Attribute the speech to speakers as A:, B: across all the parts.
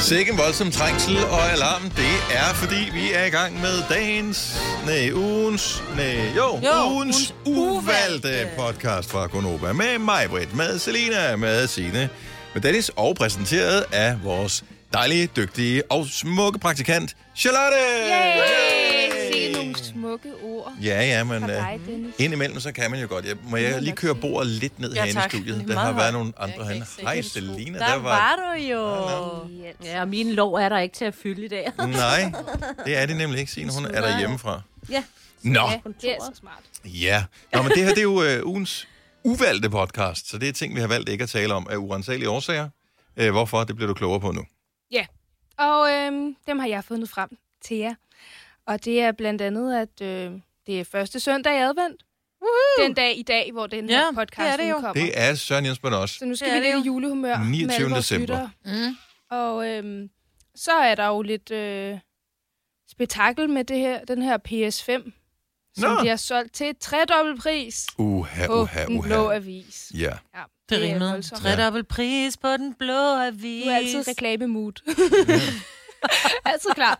A: Sikke en voldsom trængsel og alarm. Det er, fordi vi er i gang med dagens, nej, ugens, nej, jo, jo
B: Jo,
A: ugens,
B: ugens
A: uvalgte
B: uvalgte.
A: podcast fra Konoba. Med mig, Britt, med Selina, med Sine, med Dennis, og præsenteret af vores dejlige, dygtige og smukke praktikant, Charlotte!
C: Yay! Sikke nogle smukke ord.
A: Ja, ja, men
C: Fra dig,
A: uh,
C: Dennis.
A: indimellem, så kan man jo godt. Jeg, må jeg
C: man
A: lige
C: godt
A: køre
C: sige.
A: bordet lidt ned
B: Ja,
A: herinde i
B: tak.
A: studiet?
B: Det er
A: Der har
B: meget
A: været
B: højt.
A: nogle
B: Jeg
A: andre
B: kan
A: herinde.
B: ikke se
A: Hej,
B: hendes sko.
A: Selina,
B: Der var du jo.
D: Ja, og min lov er der ikke til at fylde i
B: Mm,
D: dag.
A: Nej, det er det nemlig ikke, Signe. Hun er der hjemmefra.
D: Ja.
A: Nå,
C: Ja, det er
D: kontoret.
C: så smart.
A: ja. Nå, men det her det er jo øh, ugens uvalgte podcast, så det er ting, vi har valgt ikke at tale om af urensagelige årsager. Øh, hvorfor? Det bliver du klogere på nu.
C: Og øhm, dem har jeg fundet frem til jer. Og det er blandt andet, at øh, det er første søndag i advent. Woohoo! Den dag i dag, hvor den her
B: Ja, det
C: podcast
B: er det jo.
C: udkommer.
A: Det er Søren Jensmann også.
C: Så nu skal
B: Det
C: vi
B: er det
C: lidt i
B: jo.
C: julehumør. med alle
A: 29.
C: vores
A: december.
C: lyttere.
B: Mm.
C: Og øhm, så er der jo lidt øh, spektakel med det her, den her PS5, som
A: Nå.
C: Nå. de har solgt til tredobbelt pris
A: Uha,
C: på
A: uha,
C: den blå
A: uha.
C: avis.
A: Ja.
C: Ja,
B: Det rimede.
C: voldsomt.
B: Tredobbelt pris på den blå avis.
C: Du er altid reklamemood. altid klar.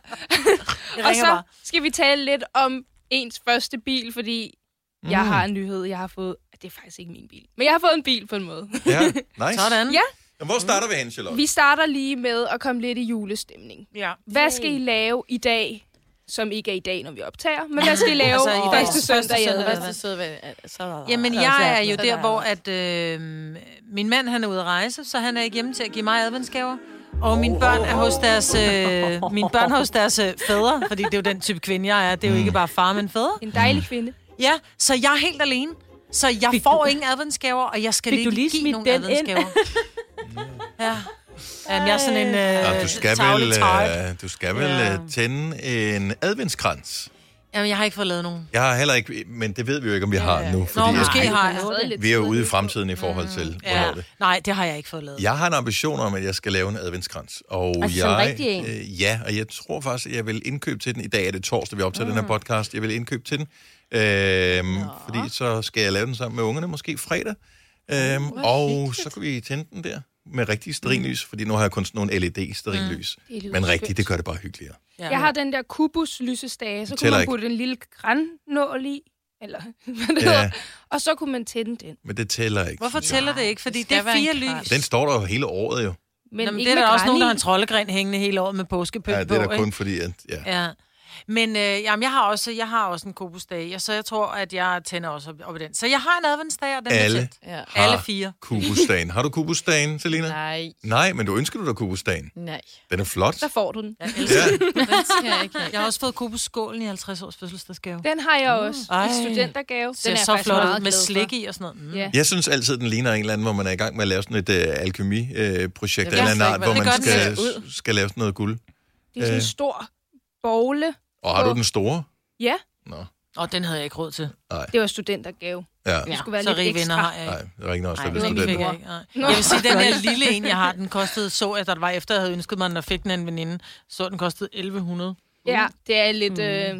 B: Jeg
C: Og
B: ringer
C: så
B: bare.
C: skal vi tale lidt om ens første bil, fordi mm. jeg har en nyhed. Jeg har fået... Det er faktisk ikke min bil. Men jeg har fået en bil på en måde.
A: Ja, nice.
B: Sådan.
C: Ja.
A: Jamen, Hvor starter vi hen, Charlotte?
C: Vi starter lige med at komme lidt i julestemning.
B: ja.
C: Hvad skal I lave i dag, som ikke er i dag, når vi optager? Men hvad skal I lave
B: Altså, i dag.
C: første søndag i advent?
E: Første søndag. Så er der-
B: Jamen,
E: så
B: altså, jeg
E: der-
B: er jo
E: så
B: der, hvor at, øh, min mand han er ude at rejse, så han er ikke hjemme til at give mig adventsgaver. Og mine børn er hos deres, øh, mine børn er hos deres øh, fædre, fordi det er jo den type kvinde, jeg er. Det er jo ikke bare far, men fædre.
C: En dejlig kvinde.
B: Ja, så jeg er helt alene. Så jeg
D: Fik
B: får
D: du-
B: ingen adventsgaver, og jeg skal
D: Fik
B: ikke
D: du lige
B: give
D: smidt
B: nogen
D: den
B: adventsgaver. ja. Jamen, jeg er sådan en øh,
A: Ja, du skal
B: tavlig
A: vel,
B: tart.
A: øh, du skal vel
B: Ja.
A: øh, tænde en adventskrans.
B: Jamen, jeg har ikke fået lavet nogen.
A: Jeg har heller ikke, men det ved vi jo ikke, om vi har nu.
B: Nå,
A: at
B: måske
A: vi-
B: har jeg.
A: Vi er jo ude i fremtiden i forhold til, hvornår
B: Mm, Ja.
A: det
B: Nej, det har jeg ikke fået lavet.
A: Jeg har en ambition om, at jeg skal lave en adventskrans. Og
D: Altså, som
A: jeg,
D: rigtig en?
A: Øh, ja, og jeg tror faktisk, at jeg vil indkøbe til den. I dag er det torsdag, vi optager mm. den her podcast. Jeg vil indkøbe til den. Øhm, fordi så skal jeg lave den sammen med ungerne, måske fredag. Øhm, og så kan vi tænde den der med rigtig sterinlys, fordi nu har jeg kun sådan nogle LED-sterinlys.
C: Det lyder
A: Men rigtigt,
C: skønt.
A: det gør det bare hyggeligere.
B: Ja.
C: Jeg har den der kubus lysestage, så kunne
A: tæller
C: man
A: ikke.
C: putte en lille grannål i, eller hvad det
A: Ja.
C: ja. hedder, og så kunne man tænde den.
A: Men det tæller ikke.
B: Hvorfor
A: synes jeg.
B: tæller det ikke? Fordi det,
E: skal
B: er
E: være en
B: fire
E: kran.
B: lys.
A: Den står der jo hele året jo.
C: Men
B: Jamen,
C: ikke
B: det er der
C: med
B: også nogen, der har
C: gran i.
B: en troldegren hængende hele året med påskepynt
A: Ja, det er
B: på,
A: da kun fordi, at... Ja.
B: ikke? Ja. Men øh, jamen, jeg har også, jeg har også en kobusdag, og så jeg tror, at jeg tænder også op, op i den. Så jeg har en adventsdag, og den
A: Alle
B: er tæt.
E: Ja.
A: har
B: Alle fire.
A: Kubusdagen. Har du kubusdagen, Selina?
E: Nej,
A: Nej, men du ønsker du dig kubusdagen.
E: nej.
A: Den er flot.
C: Så får du den.
B: Jeg, elsker.
A: Ja.
E: Den skal jeg ikke have.
B: jeg har også fået kobusskålen i 50 års fødselsdagsgave. Den
C: Den har jeg også.
B: Mm. Ej.
C: I studentergave.
B: ser
C: den er
B: så
C: jeg faktisk
B: flot ud
C: meget
B: med
C: glad for.
B: slik i og sådan noget. Mm.
C: Ja.
A: Jeg synes altid, den ligner en eller anden, hvor man er i gang med at lave sådan et øh, alkemi-projekt øh, projekt
E: Jeg
A: af en eller
E: ved
A: anden
E: slet
A: art, hvor
E: ikke,
A: man
B: hvordan det gør
A: skal,
B: den
E: ser ud.
A: skal lave sådan noget guld.
C: Det er sådan en stor bogle.
A: Og har du
C: Åh.
A: den store?
C: Ja,
A: Nå,
B: Og den havde jeg ikke råd til.
C: det var studentergave.
A: ja.
C: Det skulle være
B: så
C: lidt
B: rige venner
C: ekstra.
B: har jeg ikke.
A: Nej, der er ikke noget, der
B: Nej,
A: bliver
B: det fik
A: student.
B: jeg ikke. Nej. Jeg vil sige, den her lille en, jeg har, den kostede, så jeg, der var efter, jeg havde ønsket mig, den og fik den af en veninde, så den kostede 1100.
C: Ja, det er lidt...
B: Mm.
C: Øh,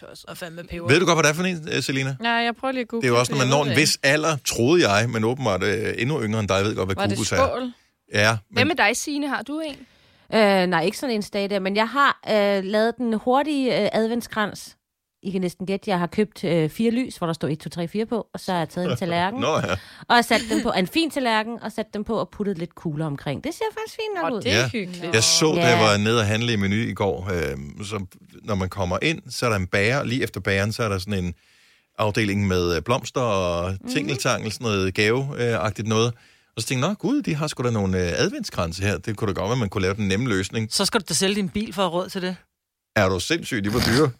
B: Tosset. Og fandme peber.
A: Ved du godt, hvad det er for en, øh, Selina?
E: Nej, jeg prøver lige at google.
A: Det er jo også, når man
E: jeg
A: når
E: ved
A: en
E: det
A: vis alder, troede jeg, men åbenbart øh, endnu yngre end dig, ved godt, hvad
E: ikke. Var det
A: kubus er.
E: skål?
A: Ja,
C: hvad
A: men
C: med dig, Signe? Har du en?
D: Øh, nej, ikke sådan en stage der, men jeg har øh, lavet den hurtige øh, adventskrans. I kan næsten gætte, jeg har købt øh, fire lys, hvor der står 1, 2, 3, 4 på, og så har jeg taget en tallerken,
A: Nå ja.
D: og sat den på en fin tallerken, og sat den på og puttet lidt kugler omkring. Det ser faktisk fint nok
E: Åh,
D: ud.
E: det
A: Ja.
E: er hyggeligt.
A: Jeg så, da jeg
D: Ja.
A: var nede og handle i menu i går, øh, så når man kommer ind, så er der en bager, lige efter bageren, så er der sådan en afdeling med øh, blomster og
B: Mhm.
A: tingeltangel, sådan noget gaveagtigt noget. Og så tænkte jeg, nå gud, de har sgu da nogle øh, adventskranse her. Det kunne da godt være, man kunne lave den nemme løsning.
B: Så skal du da sælge din bil for at have råd til det.
A: Er du sindssyg, de var dyre.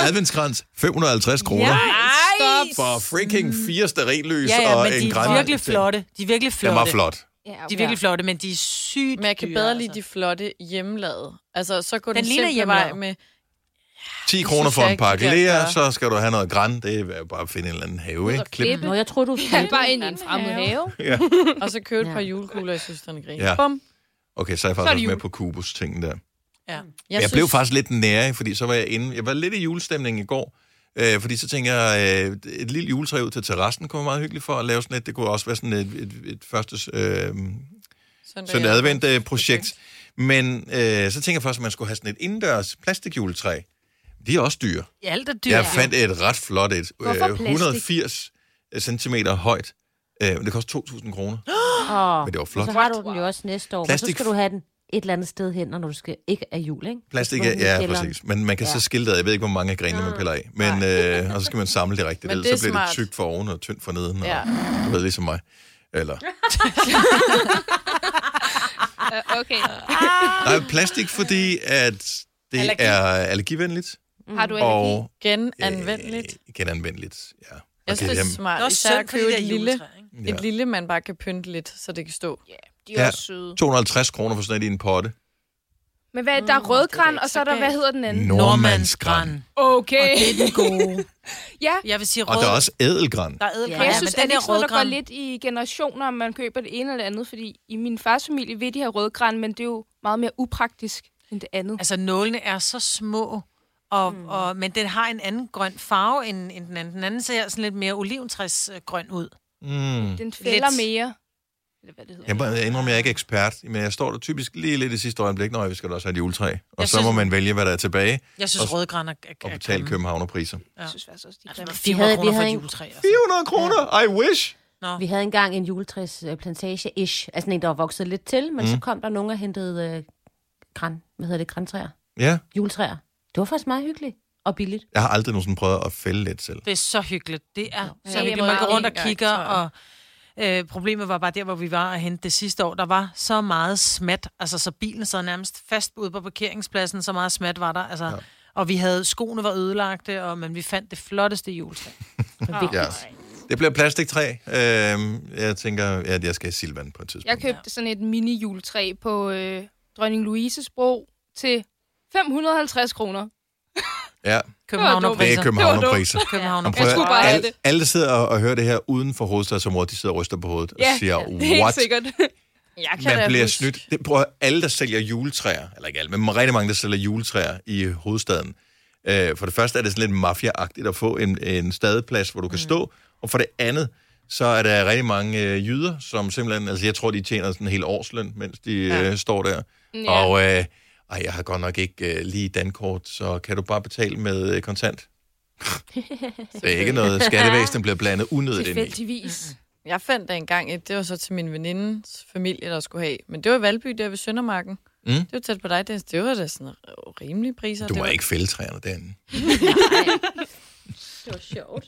A: Adventskrans, 550 kroner.
B: stop.
A: For freaking fire sterillys
B: Ja, ja,
A: og
B: men
A: en
B: de er
A: græn.
B: virkelig flotte. De er virkelig flotte.
A: Den var flot.
C: Ja,
B: De er virkelig flotte, men de er sygt
E: Men jeg kan
B: dyre,
E: bedre lide de
B: altså.
E: flotte hjemmelavede. Altså, så går
B: Den
E: den,
B: ligner
E: simple vej
B: hjemmelavet.
E: med...
A: 10
E: synes
A: kroner for
E: jeg
A: en
E: ikke, de
A: pakke
E: kan
A: læger,
E: gøre.
A: så skal du have noget græn. Det er bare at finde en eller anden have, ikke? Klip.
D: Nå, jeg tror du...
C: Ja, bare ind i en fremmed have.
E: Og så købe et par
D: Ja.
E: julekugler i søsterne Grin.
A: Ja.
E: Bum.
A: Okay, så er jeg
C: Så
A: faktisk
C: er det
A: også med
C: jul.
A: på Kubus-tingen der.
B: Ja.
A: Jeg, jeg blev faktisk lidt nærig, fordi så var jeg inde. Jeg var lidt i julestemningen i går, øh, fordi så tænkte jeg, øh, et lille juletræ ud til terrassen kunne være meget hyggeligt for at lave sådan et. Det kunne også være sådan et, et, et første øh,
E: Søndag,
A: søndag advent øh, projekt. Men øh, så tænker jeg først, at man skulle have sådan et indendørs plastikjuletræ. De er også dyre.
B: Ja, alt er dyrt.
A: Dyr. Jeg fandt et ret flot et. øh,
C: Hvorfor plastik?
A: 180 cm højt. Øh, men det koster 2.000 kroner.
D: Åh,
A: Men det var flot.
D: Så har du den jo også næste år. Plastik. Så
A: Plastik-
D: skal du have den et eller andet sted hen, når du skal... Ikke af jul, ikke?
A: Plastik,
D: Du skal have
A: ja,
D: den i
A: ja,
D: kælderen.
A: præcis. Men man kan
D: Ja.
A: så skille det ad. Jeg ved ikke, hvor mange af grenene, man piller af. Men, øh, og så skal man samle det rigtigt.
E: Men
A: Ellers
E: det er
A: så bliver
E: smart.
A: det tykt for oven og tyndt for neden.
E: Ja.
A: Ja. Og, du ved, ligesom mig. Eller,
C: Uh, okay.
B: Ah.
A: nej, plastik, fordi at det
B: Allergi.
A: allergi. er allergivenligt.
C: Har du allergi?
A: Og
E: Genanvendeligt.
A: Øh, genanvendeligt, ja.
E: Jeg synes, det er smart.
B: Det er også
E: Især
B: synd
E: at
B: for de
E: købe
B: der
E: et lille,
B: juletræer, ikke?
A: Ja.
E: et lille, man bare kan pynte lidt, så det kan stå.
C: De er
A: Ja.
C: også søde.
A: 250 kroner for sådan et i en potte.
C: Men hvad, der er
B: Mm,
E: det er
C: rødgræn,
E: ikke
C: og så
E: så
C: er der, hvad
E: galt.
C: hedder den anden?
A: Nordmandsgran.
C: Okay.
B: Og det er den gode.
C: Ja.
B: Jeg vil sige
A: Og
B: rød.
A: der er også ædelgran.
B: der er ædelgran.
D: Ja,
C: Ja, jeg synes,
B: men
C: at
B: den
C: det
B: her
C: ikke sådan, noget, der går
B: rødgran-
C: lidt i generationer, om man køber det ene eller andet, fordi i min fars familie vil de have rødgræn, men det er jo meget mere upraktisk end det andet.
B: Altså, nålene er så små, og, mm. og, men den har en anden grøn farve end, end den anden. Den anden ser sådan lidt mere oliventræsgrøn ud.
A: Mm.
C: Den fælder
B: lidt.
C: mere. Eller hvad det hedder.
A: Jeg må indrømme, jeg er ikke ekspert, men jeg står der typisk lige lidt i sidste øjeblik, når vi skal da også have et juletræ. Og
B: Jeg
A: så
B: synes-
A: må man vælge, hvad der er tilbage,
B: Jeg synes,
A: Og-
B: rødgræn er, er,
A: og
B: er
A: betale
B: grimme.
A: københavnerpriser.
C: Jeg synes faktisk også, de er
B: Altså, det var
C: grimme.
B: 400
D: havde- vi
B: kroner for
D: havde
B: et
D: en-
B: juletræ. Altså.
A: 400 kroner! I wish!
D: Vi havde engang en juletræsplantage-ish, altså sådan en, der var vokset lidt til, men mm. så kom der nogen og hentede øh, græn, hvad hedder det, grantræer,
A: Ja,
D: juletræer. Det var faktisk meget hyggeligt og billigt.
A: jeg har aldrig nogensinde prøvet at fælde lidt selv.
B: Det er så hyggeligt. Det er så
E: jeg
B: hyggeligt.
E: må
B: Man går
E: bare
B: rundt og
E: en gang,
B: kigger,
E: tror
B: og øh, problemet var bare der, hvor vi var og hente det sidste år. Der var så meget smat, altså så bilen sad nærmest fast ude på parkeringspladsen, så meget smat var der. Altså, ja. Og vi havde, skoene var ødelagte, og, men vi fandt det flotteste juletræ.
A: Ja. Det bliver plastiktræ. Øhm, jeg tænker, at jeg skal have silvan på et tidspunkt.
C: Jeg købte sådan et mini-juletræ på øh, Dronning Louises bro til 550 kroner.
A: Ja, det er
B: Københavnerpriser.
A: københavnerpriser.
B: København.
A: Man prøver,
C: Jeg skulle bare have
A: alle, alle sidder og, og hører det her uden for hovedstadsområdet. De sidder og ryster på hovedet og siger,
C: det er helt
A: what?
C: sikkert.
E: Jeg kan da
A: Man bliver
E: huske-
A: snydt. Det prøver alle, der sælger juletræer, eller ikke alle, men rigtig mange, der sælger juletræer i hovedstaden. Øh, for det første er det sådan lidt mafiaagtigt at få en, en stadeplads, hvor du kan
E: Mm.
A: stå, og for det andet, så er der rigtig mange øh, jyder, som simpelthen, altså jeg tror, de tjener sådan en hel årsløn, mens de øh, står der. Ja. Og øh, ej, jeg har godt nok ikke øh, lige dankort, så kan du bare betale med øh, kontant? det er ikke noget skattevæsen, bliver blandet unødigt ind i.
C: Tilfældigvis.
E: Jeg fandt da engang et, det var så til min venindes familie, der skulle have. Men det var i Valby, der ved Søndermarken.
A: Mm.
E: Det var tæt på dig, Dennis. Det var da sådan rimelige priser.
A: Du
E: det
A: må
E: var...
A: ikke fælde træerne derinde.
D: Det var sjovt.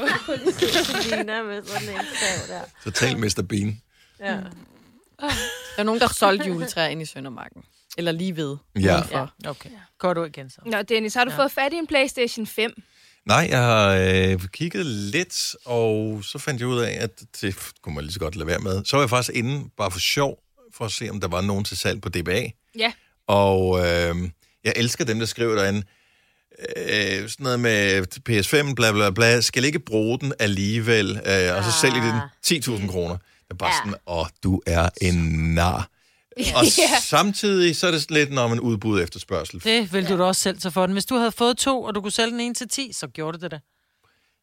D: Selina med sådan en stav der.
A: Så tal Mr. Bean.
E: Der var nogen, der solgte juletræer ind i Søndermarken. Eller lige ved.
A: Ja.
E: Ja.
B: Okay. Går du igen så?
C: Nå, Dennis, har du ja. fået fat i en Playstation 5?
A: Nej, jeg har øh, kigget lidt, og så fandt jeg ud af, at det kunne man lige så godt lade være med. Så var jeg faktisk inde, bare for sjov, for at se, om der var nogen til salg på DBA.
C: Ja.
A: Og øh, jeg elsker dem, der skriver derinde, øh, sådan noget med PS5, bla bla bla, skal ikke bruge den alligevel, øh, og så sælger
B: Ah,
A: de den 10.000 kroner. Det er bare sådan, åh, du er en nar. Og samtidig, så er det sådan lidt, når man udbud og efterspørgsel.
B: Det ville du da også selv tage for den. Hvis du havde fået to, og du kunne sælge den ene til 10, så gjorde du det da.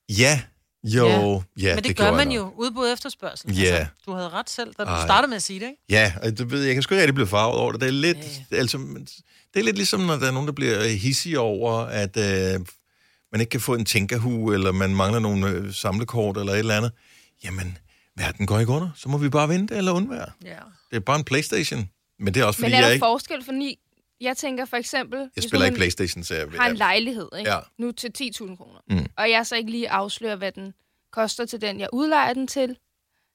A: Ja, jo, ja, ja
B: Men det,
A: gjorde
B: gør
A: jeg
B: man
A: nok.
B: jo. Udbud og efterspørgsel. Altså,
A: Ja.
B: du havde ret selv, da du
A: Ej.
B: startede med at sige det, ikke?
A: Ja, og det ved jeg, jeg kan sgu ikke rigtig blive farvet over det. Det er lidt, yeah. altså, det er lidt ligesom, når der er nogen, der bliver hissige over, at øh, man ikke kan få en tænkerhue, eller man mangler nogle øh, samlekort, eller et eller andet. Jamen, verden går ikke under. Så må vi bare vente eller undvære.
B: Ja.
A: Det er bare en Playstation. Men det er også, fordi
C: Men er der
A: jeg, ikke,
C: forskel for ni? Jeg tænker for eksempel...
A: jeg
C: hvis nu
A: spiller
C: man-
A: ikke Playstation, så jeg,
C: har en lejlighed, ikke?
A: Ja.
C: Ja. nu til 10.000 kroner.
A: Mm.
C: Mm. Og jeg så ikke lige afslører, hvad den koster til den, jeg udlejer den til.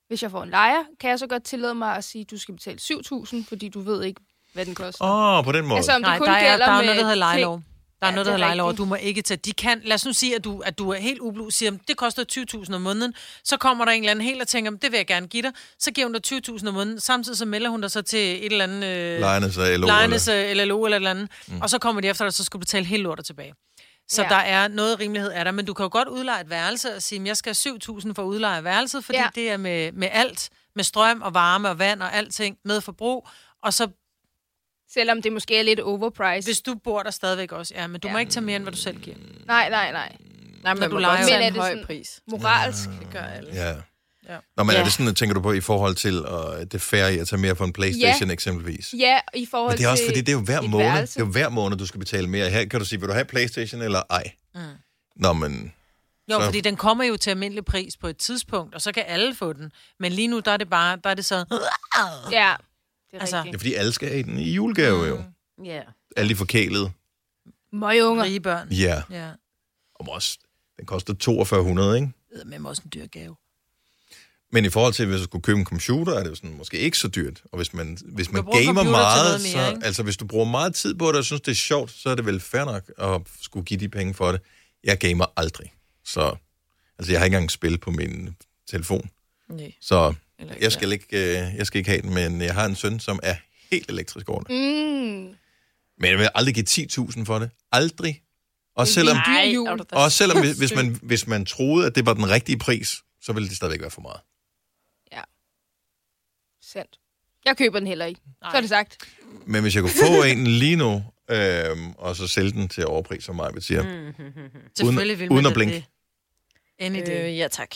C: Hvis jeg får en lejer, kan jeg så godt tillade mig at sige, at du skal betale 7.000, fordi du ved ikke, hvad den koster.
A: Åh, oh, på den måde.
C: Altså, om
B: Nej,
C: det kun
B: der er,
C: gælder
B: der er
C: med
B: noget, der hedder
C: ting.
B: lejelov. Der er
C: Ja,
B: noget,
C: det
B: der
C: er
B: hedder lejelov, og
C: rigtigt.
B: du må ikke tage... De kan, lad os nu sige, at du, at du er helt ublu, siger, at det koster 20.000 om måneden. Så kommer der en eller anden helt og tænker, "Men det vil jeg gerne give dig. Så giver hun dig 20.000 om måneden. Samtidig så melder hun dig så til et eller andet... Øh,
A: Lejernes og LO.
B: lejernes
A: eller-
B: øh, LLO eller et eller andet, mm. og så kommer de efter dig, og så skal du betale hele lortet tilbage. Så ja.
C: Ja.
B: der er noget rimelighed af der, men du kan jo godt udleje et værelse og sige, at jeg skal have 7.000 for at udleje værelset, fordi ja.
C: Ja.
B: det er med, med alt, med strøm og varme og vand og alting, med forbrug, og så
C: Selvom det måske er lidt overpriced.
B: hvis du bor der stadigvæk også, ja, men du ja. må ikke tage mere, end hvad du selv giver.
C: Nej, nej, nej.
E: Nej, men
B: du
E: du
B: lejer
E: lejer
B: jo.
E: en
C: Men er
E: høj
C: det sådan-
E: pris.
A: Ah.
C: Moralsk.
E: Det gør alle.
A: Ja.
E: Ja.
A: Nå, men ja. er
D: Ja.
A: det sådan, at tænker du på i forhold til, at det er fair i at tage mere på en Playstation ja. eksempelvis?
C: Ja, i forhold
A: Men det er også,
C: til...
A: fordi det er jo hver
C: et
A: måned, det
C: værelse.
A: er jo hver måned, du skal betale mere. Her kan du sige, vil du have Playstation eller ej? Mm. Nå, men...
B: Jo,
A: Så-
B: så. fordi den kommer jo til almindelig pris på et tidspunkt, og så kan alle få den. Men lige nu, der er det bare, der er det så...
C: Ja, det er altså,
B: Altså,
A: Det er
C: rigtigt.
A: fordi, alle skal have den i julegave mm. jo.
D: Ja.
A: Alle de forkælede.
C: Møgunger.
B: Rige børn.
A: Ja. Yeah.
B: Ja.
A: Om også, den koster 4200, ikke?
B: Med mig også en dyr gave.
A: Men i forhold til, hvis du skulle købe en computer, er det jo sådan, måske ikke så dyrt. Og hvis man, hvis man
B: bruger en
A: gamer
B: computer til
A: meget,
B: noget mere,
A: så,
B: ikke?
A: altså hvis du bruger meget tid på det, og synes, det er sjovt, så er det vel fair nok at skulle give de penge for det. Jeg gamer aldrig. Så, altså jeg har ikke engang spil på min telefon.
E: Nej,
A: Så
E: eller ikke
A: jeg skal, ikke, øh, jeg skal ikke have den, men jeg har en søn, som er helt elektrisk over det.
C: Mm.
A: Men jeg vil aldrig give 10.000 for det. Aldrig. Og selvom,
E: der.
B: Dyr
E: Ej,
B: jul.
E: er du da
A: og selvom hvis, hvis,
E: sindssyg.
A: man, hvis man troede, at det var den rigtige pris, så ville det stadigvæk være for meget.
C: Sandt. Jeg køber den heller ikke. Nej. Så er det sagt.
A: Men hvis jeg kunne få en lige nu, øhm, og så sælge den til overpris, som mig vil sige. Mm.
B: Selvfølgelig vil man
A: uden at
B: da
A: blinke.
B: det. Any day.
E: Øh, ja, tak.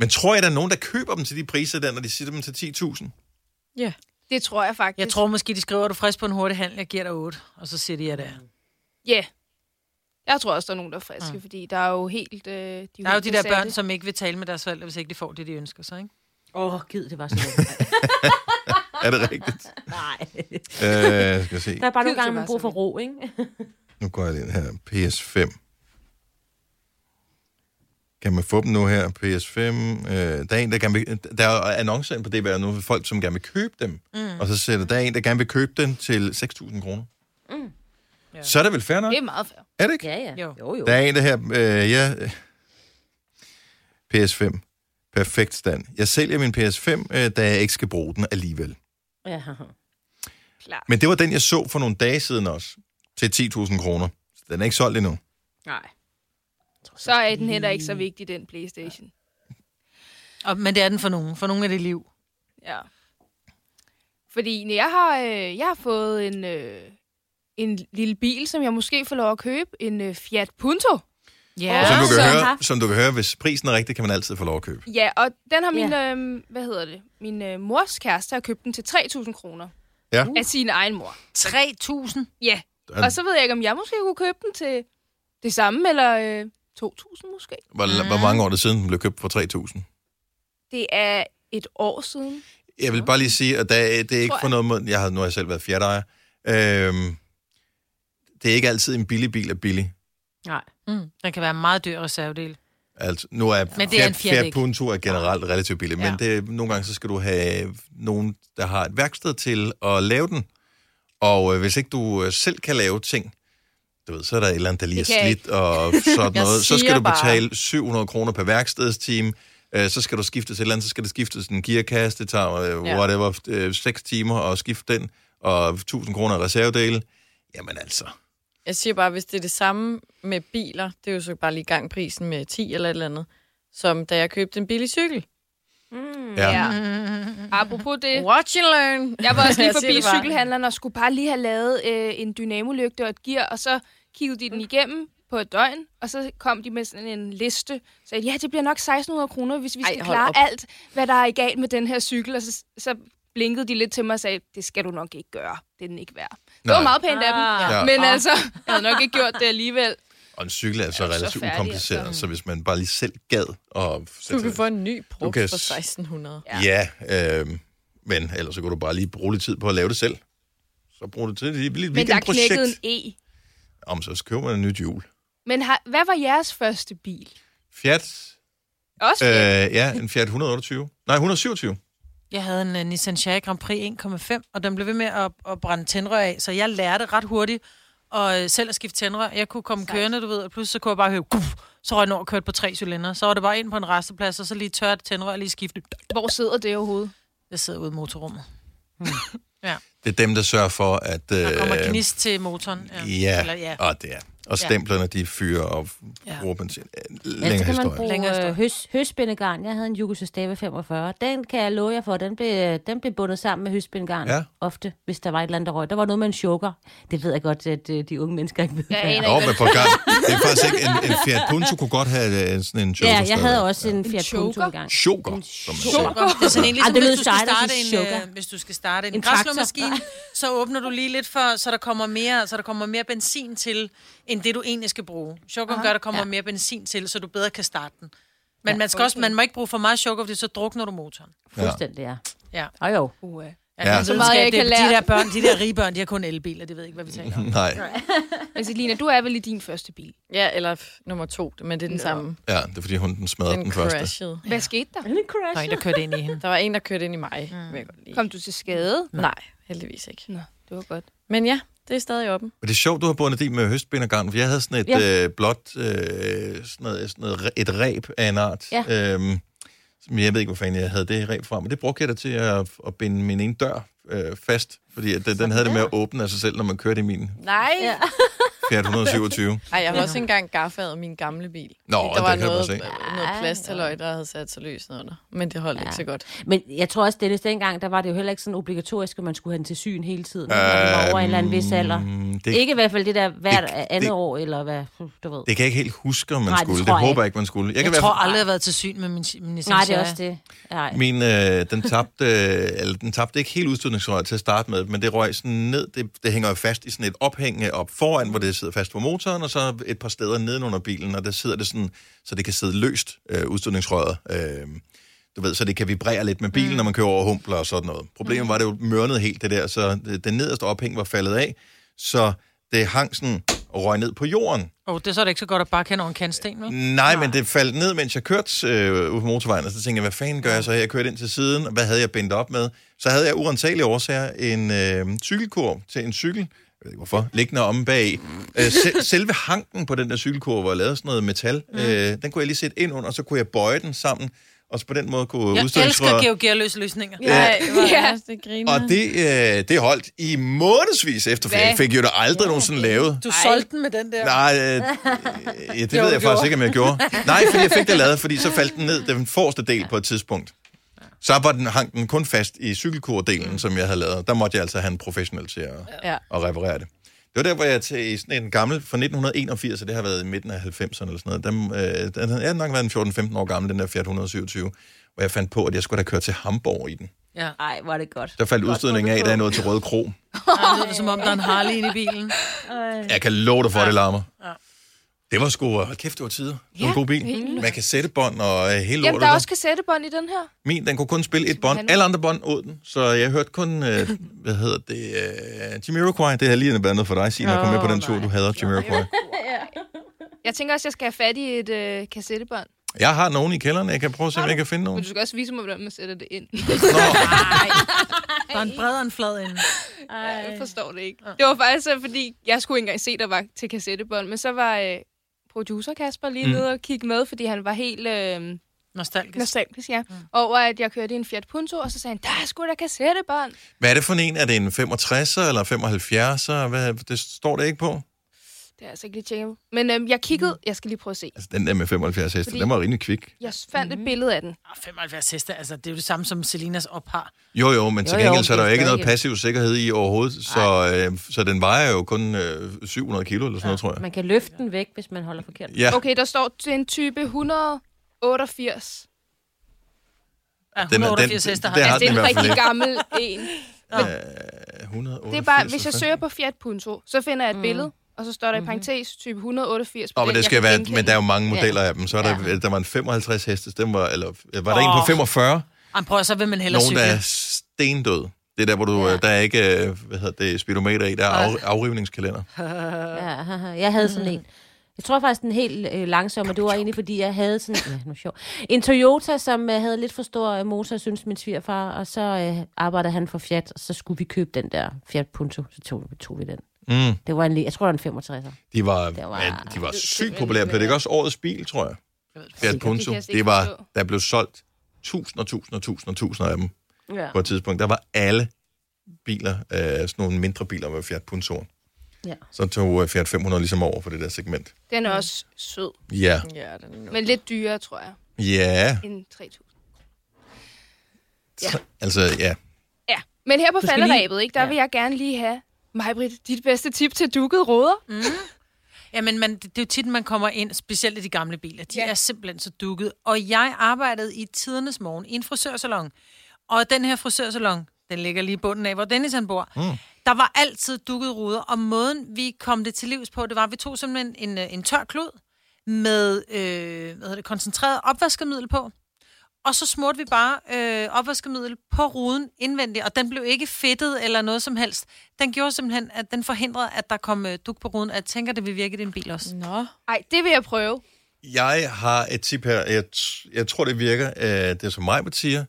A: Men tror jeg, der er nogen, der køber dem til de priser der, når de siger dem til 10.000?
E: Ja.
C: Det tror jeg faktisk.
B: Jeg tror måske, de skriver, at du er frisk på en hurtig handel, jeg giver dig 8, og så siger de, ja, det er.
C: Ja. Yeah. Jeg tror også, der er nogen, der er friske, mm. fordi der er jo helt... Øh, de
B: Der er jo de der børn, som ikke vil tale med deres forældre, hvis ikke de får det, de ønsker sig, ikke?
D: Åh, oh, gid, det var sådan noget.
A: Er det rigtigt?
D: Nej.
A: øh, skal jeg se.
D: Der er bare
C: Gid,
D: nogle gange,
C: det var
D: man bruger for
C: sådan.
D: ro, ikke?
A: Nu går jeg lige ind her. PS5. Kan man få dem nu her? PS5. Øh, der er en, der gerne vil, Der er annoncer ind på DBR nu for folk, som gerne vil købe dem. Mm. Og så sætter der er en, der gerne vil købe den til 6.000 kroner. Mm.
B: Ja.
A: Så er det vel fair nok?
C: Det er meget fair.
A: Er det ikke?
D: Ja, ja.
B: Jo.
D: jo. jo.
A: Der er en, der her... Øh, ja, øh, PS5. Perfekt stand. Jeg sælger min PS5, øh, da jeg ikke skal bruge den alligevel.
D: Ja.
C: Klart.
A: Men det var den, jeg så for nogle dage siden også. Til 10.000 kroner. Så den er ikke solgt endnu.
D: Nej.
C: Så er den heller ikke så vigtig, den Playstation.
B: Og, men det er den for nogen. For nogen er det liv.
C: Ja. Fordi jeg har, øh, jeg har fået en, øh, en lille bil, som jeg måske får lov at købe. En øh, Fiat Punto.
B: Ja.
A: Og som, du kan
C: så
A: høre,
D: haft-
A: som du kan høre, hvis prisen er rigtig, kan man altid få lov at købe.
C: Ja, og den har min, øh, hvad hedder det, min øh, mors kæreste har købt den til 3.000 kroner.
A: Ja.
C: Af sin egen mor.
B: 3.000?
C: Ja,
A: Der,
C: og så ved jeg ikke, om jeg måske kunne købe den til det samme, eller øh, 2.000 måske.
A: hvor, hvor mange år er det siden, den blev købt for 3.000?
C: Det er et år siden.
A: Jeg vil bare lige sige, at der, det er ikke
C: Tror
A: for
C: jeg.
A: noget måde... Jeg har, nu har jeg selv været fjerdejer. Øhm, det er ikke altid en billig bil er billig.
D: Nej.
B: Mm. Den kan være en meget dyr reservedel.
A: Altså, nu er
B: Men det er en Fiat ikke.
A: Punto er generelt relativt billig, ja.
B: Ja.
A: men det, nogle gange så skal du have nogen, der har et værksted til at lave den. Og øh, hvis ikke du øh, selv kan lave ting, du ved, så er der et eller andet, der lige er
C: Det kan jeg
A: slidt og sådan
E: Jeg
A: noget. Så skal
E: siger
A: du
E: bare.
A: betale 700 kroner per værkstedstime. Øh, så skal du skifte til et eller andet, så skal det skiftes en gearkasse, det tager øh,
E: Ja.
A: whatever, øh, 6 timer at skifte den, og 1000 kroner i reservedele. Jamen altså,
E: Jeg siger bare, hvis det er det samme med biler, det er jo så bare lige gangprisen med 10 eller et eller andet, som da jeg købte en billig cykel.
C: Mm.
A: ja. ja.
C: Apropos det,
E: Watch and learn.
C: jeg var også lige
E: siger
C: forbi
E: det bare.
C: cykelhandleren og skulle bare lige have lavet øh, en dynamolygte og et gear, og så kiggede de den igennem på et døgn, og så kom de med sådan en liste, og sagde, ja, det bliver nok 1600 kroner, hvis vi
E: Ej,
C: skal Ej,
E: hold
C: klare
E: op.
C: op. alt, hvad der er galt med den her cykel, og så, så blinkede de lidt til mig og sagde, det skal du nok ikke gøre, det er den ikke værd. Det
A: Nej.
C: var meget pænt af dem,
D: Ah.
A: Ja.
C: men altså, jeg havde nok ikke gjort det alligevel.
A: Og en cykel er så
C: Er du så
A: relativt
C: færdig,
A: ukompliceret, så hvis man bare lige selv gad og
E: Du kan få en ny brugt
A: kan
E: for
A: s-
E: 1600.
A: Ja, øh, men ellers så kunne du bare lige bruge lidt tid på at lave det selv. Så brug det til et lille
C: Men der
A: weekendprojekt.
C: knækkede en E.
A: Om så køber man en nyt hjul.
C: Men har, hvad var jeres første bil?
A: Fiat,
C: Også
A: øh,
C: øh,
A: ja, en Fiat 128. Nej, 127.
B: Jeg havde en uh, Nissan Shaq Grand Prix 1,5, og den blev ved med at, at brænde tændrør af, så jeg lærte ret hurtigt og øh, selv at skifte tændrør. Jeg kunne komme
C: Sejt.
B: kørende, du ved, og pludselig så kunne jeg bare høre, guf, så røg den over og kørte på tre cylinder. Så var det bare ind på en resteplads, og så lige tørt tændrør, lige skifte.
C: Hvor sidder det overhovedet?
B: Jeg sidder ude i motorrummet.
A: Det er dem, der sørger for, at... Øh,
B: Der kommer gnist til motoren.
A: Ja,
B: Eller, ja.
A: og det er. Og stemplerne, de fyrer og
B: Ja.
A: bruger benzin. Øh,
D: Ellers
A: Længere
D: kan man
A: historie.
D: bruge
B: Længere historie.
D: øh, høs, høstbindegarn. Jeg havde en Jugoslavia 45. Den kan jeg love jer for. Den blev, øh, den blev bundet sammen med høstbindegarn
A: Ja.
D: ja. ofte, hvis der var et eller andet, der røg. Der var noget med en choker. Det ved jeg godt, at øh, de unge mennesker ikke ved.
C: Jeg
D: hvad er.
C: aner
A: Nå, men på gang. Det er faktisk ikke en, en Fiat Punto kunne godt have øh, sådan en choker.
D: Ja, jeg havde
A: stadig.
D: også en Fiat
C: choker?
D: Punto engang.
A: Choker,
D: En
A: som man
D: choker.
A: siger.
B: Det er sådan en, ligesom,
D: Ej, det
B: hvis,
D: lød
B: du skal
D: sejt at
B: starte
D: sige
B: en,
D: sugar.
B: øh, hvis du skal starte en, en
D: En traktor.
B: græslåmaskine, så åbner du lige lidt for, så der kommer mere, så der kommer mere benzin til, end det du egentlig skal bruge. Sukker gør, der kommer ja. mere benzin til, så du bedre kan starte den. Men ja, man, skal okay. også, man må ikke bruge for meget sukker, fordi så drukner du motoren.
D: Fuldstændig, ja.
B: Ja.
D: Og jo.
C: Uha.
B: Ja,
A: Ja.
B: den
A: Så
C: meget,
B: videnskab,
C: jeg
B: det-
C: kan
B: De
C: lære.
B: der børn, de der rige børn, de har kun elbiler, de ved ikke, hvad vi taler om.
A: Nej,
C: Men Selina, du er vel i din første bil.
E: Ja, eller f- nummer to, men det er den samme.
A: ja, det er fordi hunden smadrede den,
E: Den
A: første.
E: crashede.
C: Hvad skete der?
B: Der er en, der kørte ind i hende.
E: Der var en, der kørte ind i mig. Mm. Jeg godt lide.
C: Kom du til skade?
E: Nej, heldigvis ikke.
C: Nå, det var godt.
E: Men ja, det er stadig åben.
A: Men det er sjovt, du har bundet din med høstbindergarn, for jeg havde sådan et ja.
D: Ja.
A: øh, blåt, øh, sådan noget, sådan noget, et ræb af en art.
D: Ja.
A: Øhm, som jeg ved ikke, hvor fanden jeg havde det ræb fra, men det brugte jeg da til at, at binde min ene dør øh, fast, fordi at den, den havde det med at åbne af sig selv, når man kørte i min
E: Nej. Ja.
A: Fiat 127.
E: Ej, jeg har også engang gaffet min gamle bil.
A: Nå,
E: Fordi der
A: det
E: var
A: kan jeg
E: noget,
A: bare
E: noget plasthaløj, der havde sat sig løs under. Men det holdt ja. ikke så godt.
D: Men jeg tror også, Dennis, dengang, der var det jo heller ikke sådan obligatorisk, at man skulle have den til syn hele tiden, når man var over en eller anden vis alder.
A: Mm, det,
D: Ikke i hvert fald det der hvert
A: det-
D: andet
A: det-
D: år, eller hvad, hm, du ved.
A: det kan jeg ikke helt huske, om man
D: Nej, det
A: skulle. Det,
D: tror jeg
A: håber jeg ikke, man skulle. Jeg, kan
B: Jeg
A: i hvert
B: tror
A: fald-
B: aldrig, jeg har været til syn med min, min Nissan
D: Nej, det er
B: Sierra.
D: også det. Nej.
A: Min, øh, den, tabte, øh, eller, den tabte ikke helt udstødningsrøret til at starte med, men det røg sådan ned, det, det hænger jo fast i sådan et ophæng øh, op foran, hvor det sidder fast på motoren, og så et par steder nedenunder bilen, og der sidder det sådan, så det kan sidde løst, øh, udstødningsrøret. Øh, du ved, så det kan vibrere lidt med bilen, mm. når man kører over humpler og sådan noget. Problemet var, at det jo mørnet helt det der, så det, den nederste ophæng var faldet af, så det hang sådan og røg ned på jorden.
B: Åh, oh, det er så da ikke så godt at bare kende over en kantsten, vel?
A: Nej, men det faldt ned, mens jeg kørte øh, ude på motorvejen, og så tænkte jeg, hvad fanden gør jeg så her? Jeg kørte ind til siden, og hvad havde jeg bindt op med? Så havde jeg urentagelige årsager en øh, cykelkurv til en cykel, jeg ved ikke hvorfor, liggende om bag. Øh, se, selve hanken på den der cykelkurv var lavet af sådan noget metal. Mm. Øh, den kunne jeg lige sætte ind under, og så kunne jeg bøje den sammen, og så på den måde kunne
B: Jeg elsker
A: udstødningsrøret-
B: geogearløse løsninger. Ja.
E: Nej, hvor
C: Ja.
E: er det- det griner.
A: Og det, øh, det holdt i månedsvis efter, for jeg
C: Hvad?
A: fik jo det aldrig nogensinde lavet.
B: Du solgte den med den der.
A: Nej, øh, ja, det ved jeg faktisk
B: gjorde.
A: ikke, om jeg gjorde. Nej, fordi jeg fik det lavet, fordi så faldt den ned, den forreste del på et tidspunkt. Så var den, hang den kun fast i cykelkurdelen, som jeg havde lavet. Der måtte jeg altså have en professionel til at,
E: Ja.
A: at reparere det. Det var der, hvor jeg til i sådan en gammel fra 1981, og det har været i midten af 90'erne eller sådan noget. Den, øh, den havde jeg nok været en 14-15 år gammel, den der Fiat 127, hvor jeg fandt på, at jeg skulle da køre til Hamburg i den.
B: Ja.
D: Nej, hvor er det godt.
A: Der faldt udstødningen af, da jeg nåede til Røde Kro.
B: Ej, lyder det som om, der er en Harley inde i bilen.
A: Jeg kan love dig for, at det larmer. Det var sgu, hold kæft, det var tider. Det var en god bil. Man kan sætte bånd og øh, hele
C: Jamen,
A: lortet.
C: der er
A: der.
C: også kassettebånd i den her.
A: Min, den kunne kun spille et bånd.
C: han-
A: Alle andre bånd åd den, så jeg hørte kun, øh, hvad hedder det, øh, Jamiroquai. Det har lige været noget for dig, Signe, at komme med på den tur, du havde Jamiroquai.
C: Jeg tænker også, jeg skal have fat i et øh, kassettebånd.
A: Jeg har nogen i kælderen, jeg kan prøve at se, om jeg kan finde
C: Men
A: nogen.
C: du skal også vise mig, hvordan man sætter det ind.
A: Nå.
B: Der er en bred og en flad inde.
C: Jeg forstår det ikke. Det var faktisk, øh, fordi jeg skulle ikke engang se, der var til kassettebånd, men så var øh, producer Kasper lige
A: Mm.
C: nede og kigge med, fordi han var helt øh,
B: Nostalgisk.
C: nostalgisk, ja, over at jeg kørte i en Fiat Punto, og så sagde han, der er sgu da kassettebånd.
A: Hvad er det for en? Er det en 65'er eller 75'er? Hvad, det står der ikke på.
C: Det har jeg altså ikke lige tjekket. Men øh, jeg kiggede, jeg skal lige prøve at se.
A: Altså, den der med 75 heste,
C: Fordi-
A: den var rimelig kvik.
C: Jeg fandt et billede af den.
B: Ah, 75 heste, altså det er jo det samme som Selinas ophar.
A: Jo, jo, men til
D: Jo, jo,
A: gengæld så er der jo
D: det er
A: ikke noget
D: stadig-
A: passiv sikkerhed i overhovedet, så, øh, så den vejer jo kun øh, 700 kilo eller sådan noget, tror jeg.
D: Man kan løfte den væk, hvis man holder forkert.
A: Ja,
C: Okay, der står til en type 188.
B: Ja,
A: den-
B: 188
A: den-
B: heste har
A: det har
C: Altså,
A: den i
C: det er
B: altså,
C: en
A: hvert fald
C: rigtig
A: ikke.
C: gammel en.
A: øh, 188.
C: Det er bare, hvis jeg søger på Fiat Punto, så finder
D: Mm.
C: jeg et billede, og så
D: Mhm.
C: står der i parentes type 188. på
A: Nå, men,
C: den,
A: det
C: jeg
A: skal
C: kan
A: være,
C: genkende.
A: men der er jo mange modeller af dem. Så er der, ja. der var en 55 hestes, den var, eller øh, var der en på
B: Åh.
A: 45?
B: Jamen, prøv at så vil man hellere
A: Nogen,
B: cykle.
A: der er stendød. Det er der, hvor du, ja. der er ikke, øh, hvad hedder det, speedometer i, der er af, afrivningskalender.
D: Ja, haha. jeg havde sådan en. Jeg tror faktisk den helt øh, langsomme, det var egentlig fordi jeg havde sådan ja, nu er det sjov. en Toyota, som øh, havde lidt for stor øh, motor, synes min svigerfar, og så øh, arbejdede han for Fiat, og så skulle vi købe den der Fiat Punto, så tog, tog vi den.
A: Mm.
D: Det var en, li- jeg tror, det var en 65'er.
A: De var,
D: Det
A: var,
D: var-
A: ja, de var sygt populære. Blev det ikke også årets bil, tror jeg? Fiat
D: Sikkert.
A: Punto.
C: Det kan jeg slet
A: Det
C: ikke
A: var,
C: forstå.
A: der blev solgt tusinder, tusinder, tusinder, tusinder af dem
D: Ja.
A: på et tidspunkt. Der var alle biler, øh, sådan nogle mindre biler med Fiat Punto'en.
D: Ja.
A: Så tog øh, Fiat 500 ligesom over for det der segment.
C: Den er også sød,
A: Ja.
E: Ja, den er
C: men lidt dyrere, tror jeg,
A: Ja.
C: end 3.000.
A: ja. Altså, ja.
C: Ja, men her på
D: Du skal
C: falderæbet,
D: lige-
C: ikke, der
D: Ja.
C: vil jeg gerne lige have, Majbrit, dit bedste tip til dukket råder.
B: Jamen, man, det det er jo tit, man kommer ind, specielt i de gamle biler. De
C: Ja.
B: ja. er simpelthen så dukket. Og jeg arbejdede i tidernes morgen i en frisørsalon. Og den her frisørsalon, den ligger lige i bunden af, hvor Dennis han bor. Mm. Der var altid dukket ruder, og måden, vi kom det til livs på, det var, at vi tog simpelthen en, øh, en tør klud med øh, hvad hedder det, koncentreret opvaskemiddel på. Og så smurte vi bare øh, opvaskemiddel på ruden indvendigt, og den blev ikke fedtet eller noget som helst. Den gjorde simpelthen, at den forhindrede, at der kom øh, duk på ruden. Og Jeg tænker, det vil virke i din bil også.
C: Mm.
E: Nå,
C: Ej, det vil jeg prøve.
A: Jeg har et tip her. Jeg, t- jeg tror, det virker. øh, Det er som mig, siger.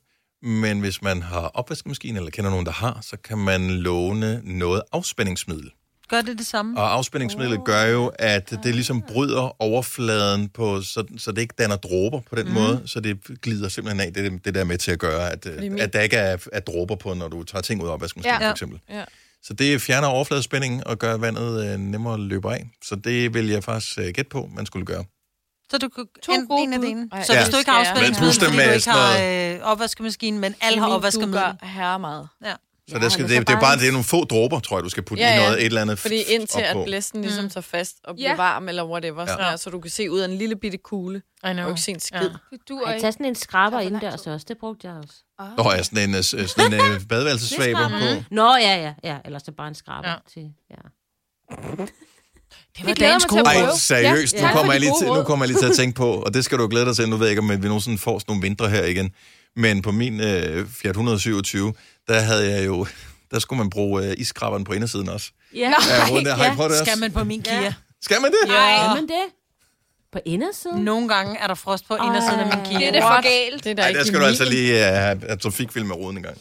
A: Men hvis man har opvaskemaskine, eller kender nogen, der har, så kan man låne noget afspændingsmiddel.
B: Gør det det samme?
A: Og afspændingsmidlet gør jo, at det ligesom bryder overfladen, på, så, så det ikke danner dråber på den mm. måde, så det glider simpelthen af. Det, er det der er med til at gøre, at, øh,
E: min-
A: at der ikke er, er dråber på, når du tager ting ud af opvaskemaskinen,
C: Ja.
A: ja. for eksempel.
E: Ja.
A: Så det fjerner overfladespændingen og gør vandet øh, nemmere at løbe af. Så det vil jeg faktisk øh, gætte på, man skulle gøre.
B: Så du kunne
C: To
B: enten
C: gode
B: en af
C: bud.
B: dine.
E: Ej,
B: Så
E: ja.
B: hvis du ikke har
E: Men
B: afspændingsmiddel,
A: pus dem
B: fordi
A: med
B: du ikke
A: sådan
B: har øh, opvaskemaskinen, men alle har
E: Min
B: opvaskemiddel.
E: dukker herre meget.
B: Ja.
A: Så ja, der skal,
D: men
A: det,
D: så
A: det, er
D: bare
A: bare
D: en-
A: det er nogle få dråber, tror jeg, du skal putte
E: Ja,
A: ja, ja. i
E: ja.
A: noget, et eller andet
E: Fordi
A: f-
E: indtil
A: op
E: at
A: på.
E: blæsten ligesom tager fast og bliver
C: Ja.
E: varm, eller whatever, sådan
A: Ja.
E: her, så du kan se ud af en lille bitte kugle.
B: I know.
E: Du kan ikke se en skid.
B: Ja.
C: Det duer
D: Ej,
C: ikke.
D: tag sådan en skraber
C: Det tager for lang
D: indendørs
C: tid.
D: også. Det brugte jeg også.
A: Nå ja, sådan en, øh, s- øh, sådan en øh, badeværelsessvaber på.
D: Nå, ja, ja, ja. Ellers så bare en skraber
B: Ja.
D: ja. til... Ja.
B: Det var
C: glæder
B: dagens
C: mig til at
B: gode
C: prøve.
A: Ej,
B: råd.
C: Prøv.
A: seriøst,
C: Ja.
A: nu,
C: Tak
A: kommer
C: for
A: jeg
C: de
A: lige
C: gode
A: til,
C: råd.
A: nu kommer jeg lige til at tænke på, og det skal du glæde dig til, nu ved jeg ikke, om vi nogensinde får sådan nogle vintre her igen, men på min øh, Fiat 127, der havde jeg jo, der skulle man bruge øh, iskraberen på indersiden også.
D: Ja.
A: Ja, rundt der. Har I
D: ja.
A: prøvet det
B: Skal
A: også?
B: man på min Kia?
A: Skal man det?
B: Nej.
D: Kan man det? På indersiden?
B: Nogle gange er der frost på indersiden af min
D: Ej.
B: Kia.
C: Det er det for galt.
E: Det er der
A: Ej,
E: ikke
A: der skal
E: i
A: du altså
E: min.
A: lige øh, have have trafikfilm med roden en gang.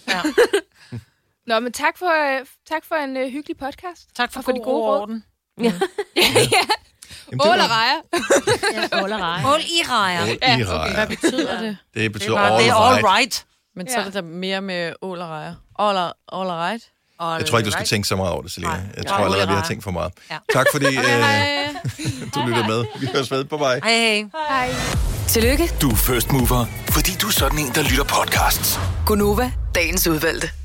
C: Nå, men tak for, øh, tak for en øh, hyggelig podcast.
B: Tak for,
C: Og for
B: for
C: de
B: god
C: gode
B: ro og
C: råd.
B: orden.
A: Jamen, det,
C: Ål og
A: var-
C: rejer.
D: Ja, ål og rejer.
B: Ål i rejer.
A: Ål
B: Det
A: i
E: Hvad
A: rejer.
E: betyder det?
A: Det betyder
B: er bare- Det er all right.
E: Men så er det der mere med ål og rejer. All, are, all are right.
A: Jeg tror ikke, du skal tænke så meget over det, Selina.
B: Nej.
A: Jeg
B: Ja.
A: tror allerede, vi har
B: Ålerejer.
A: tænkt for meget.
B: Ja.
A: Tak fordi øh,
E: Hej.
A: du lyttede med. Vi høres ved. Bye bye.
B: Hej, hej.
F: Tillykke,
G: Du er first mover, fordi du er sådan en, der lytter podcasts.
F: Gunova, dagens udvalgte.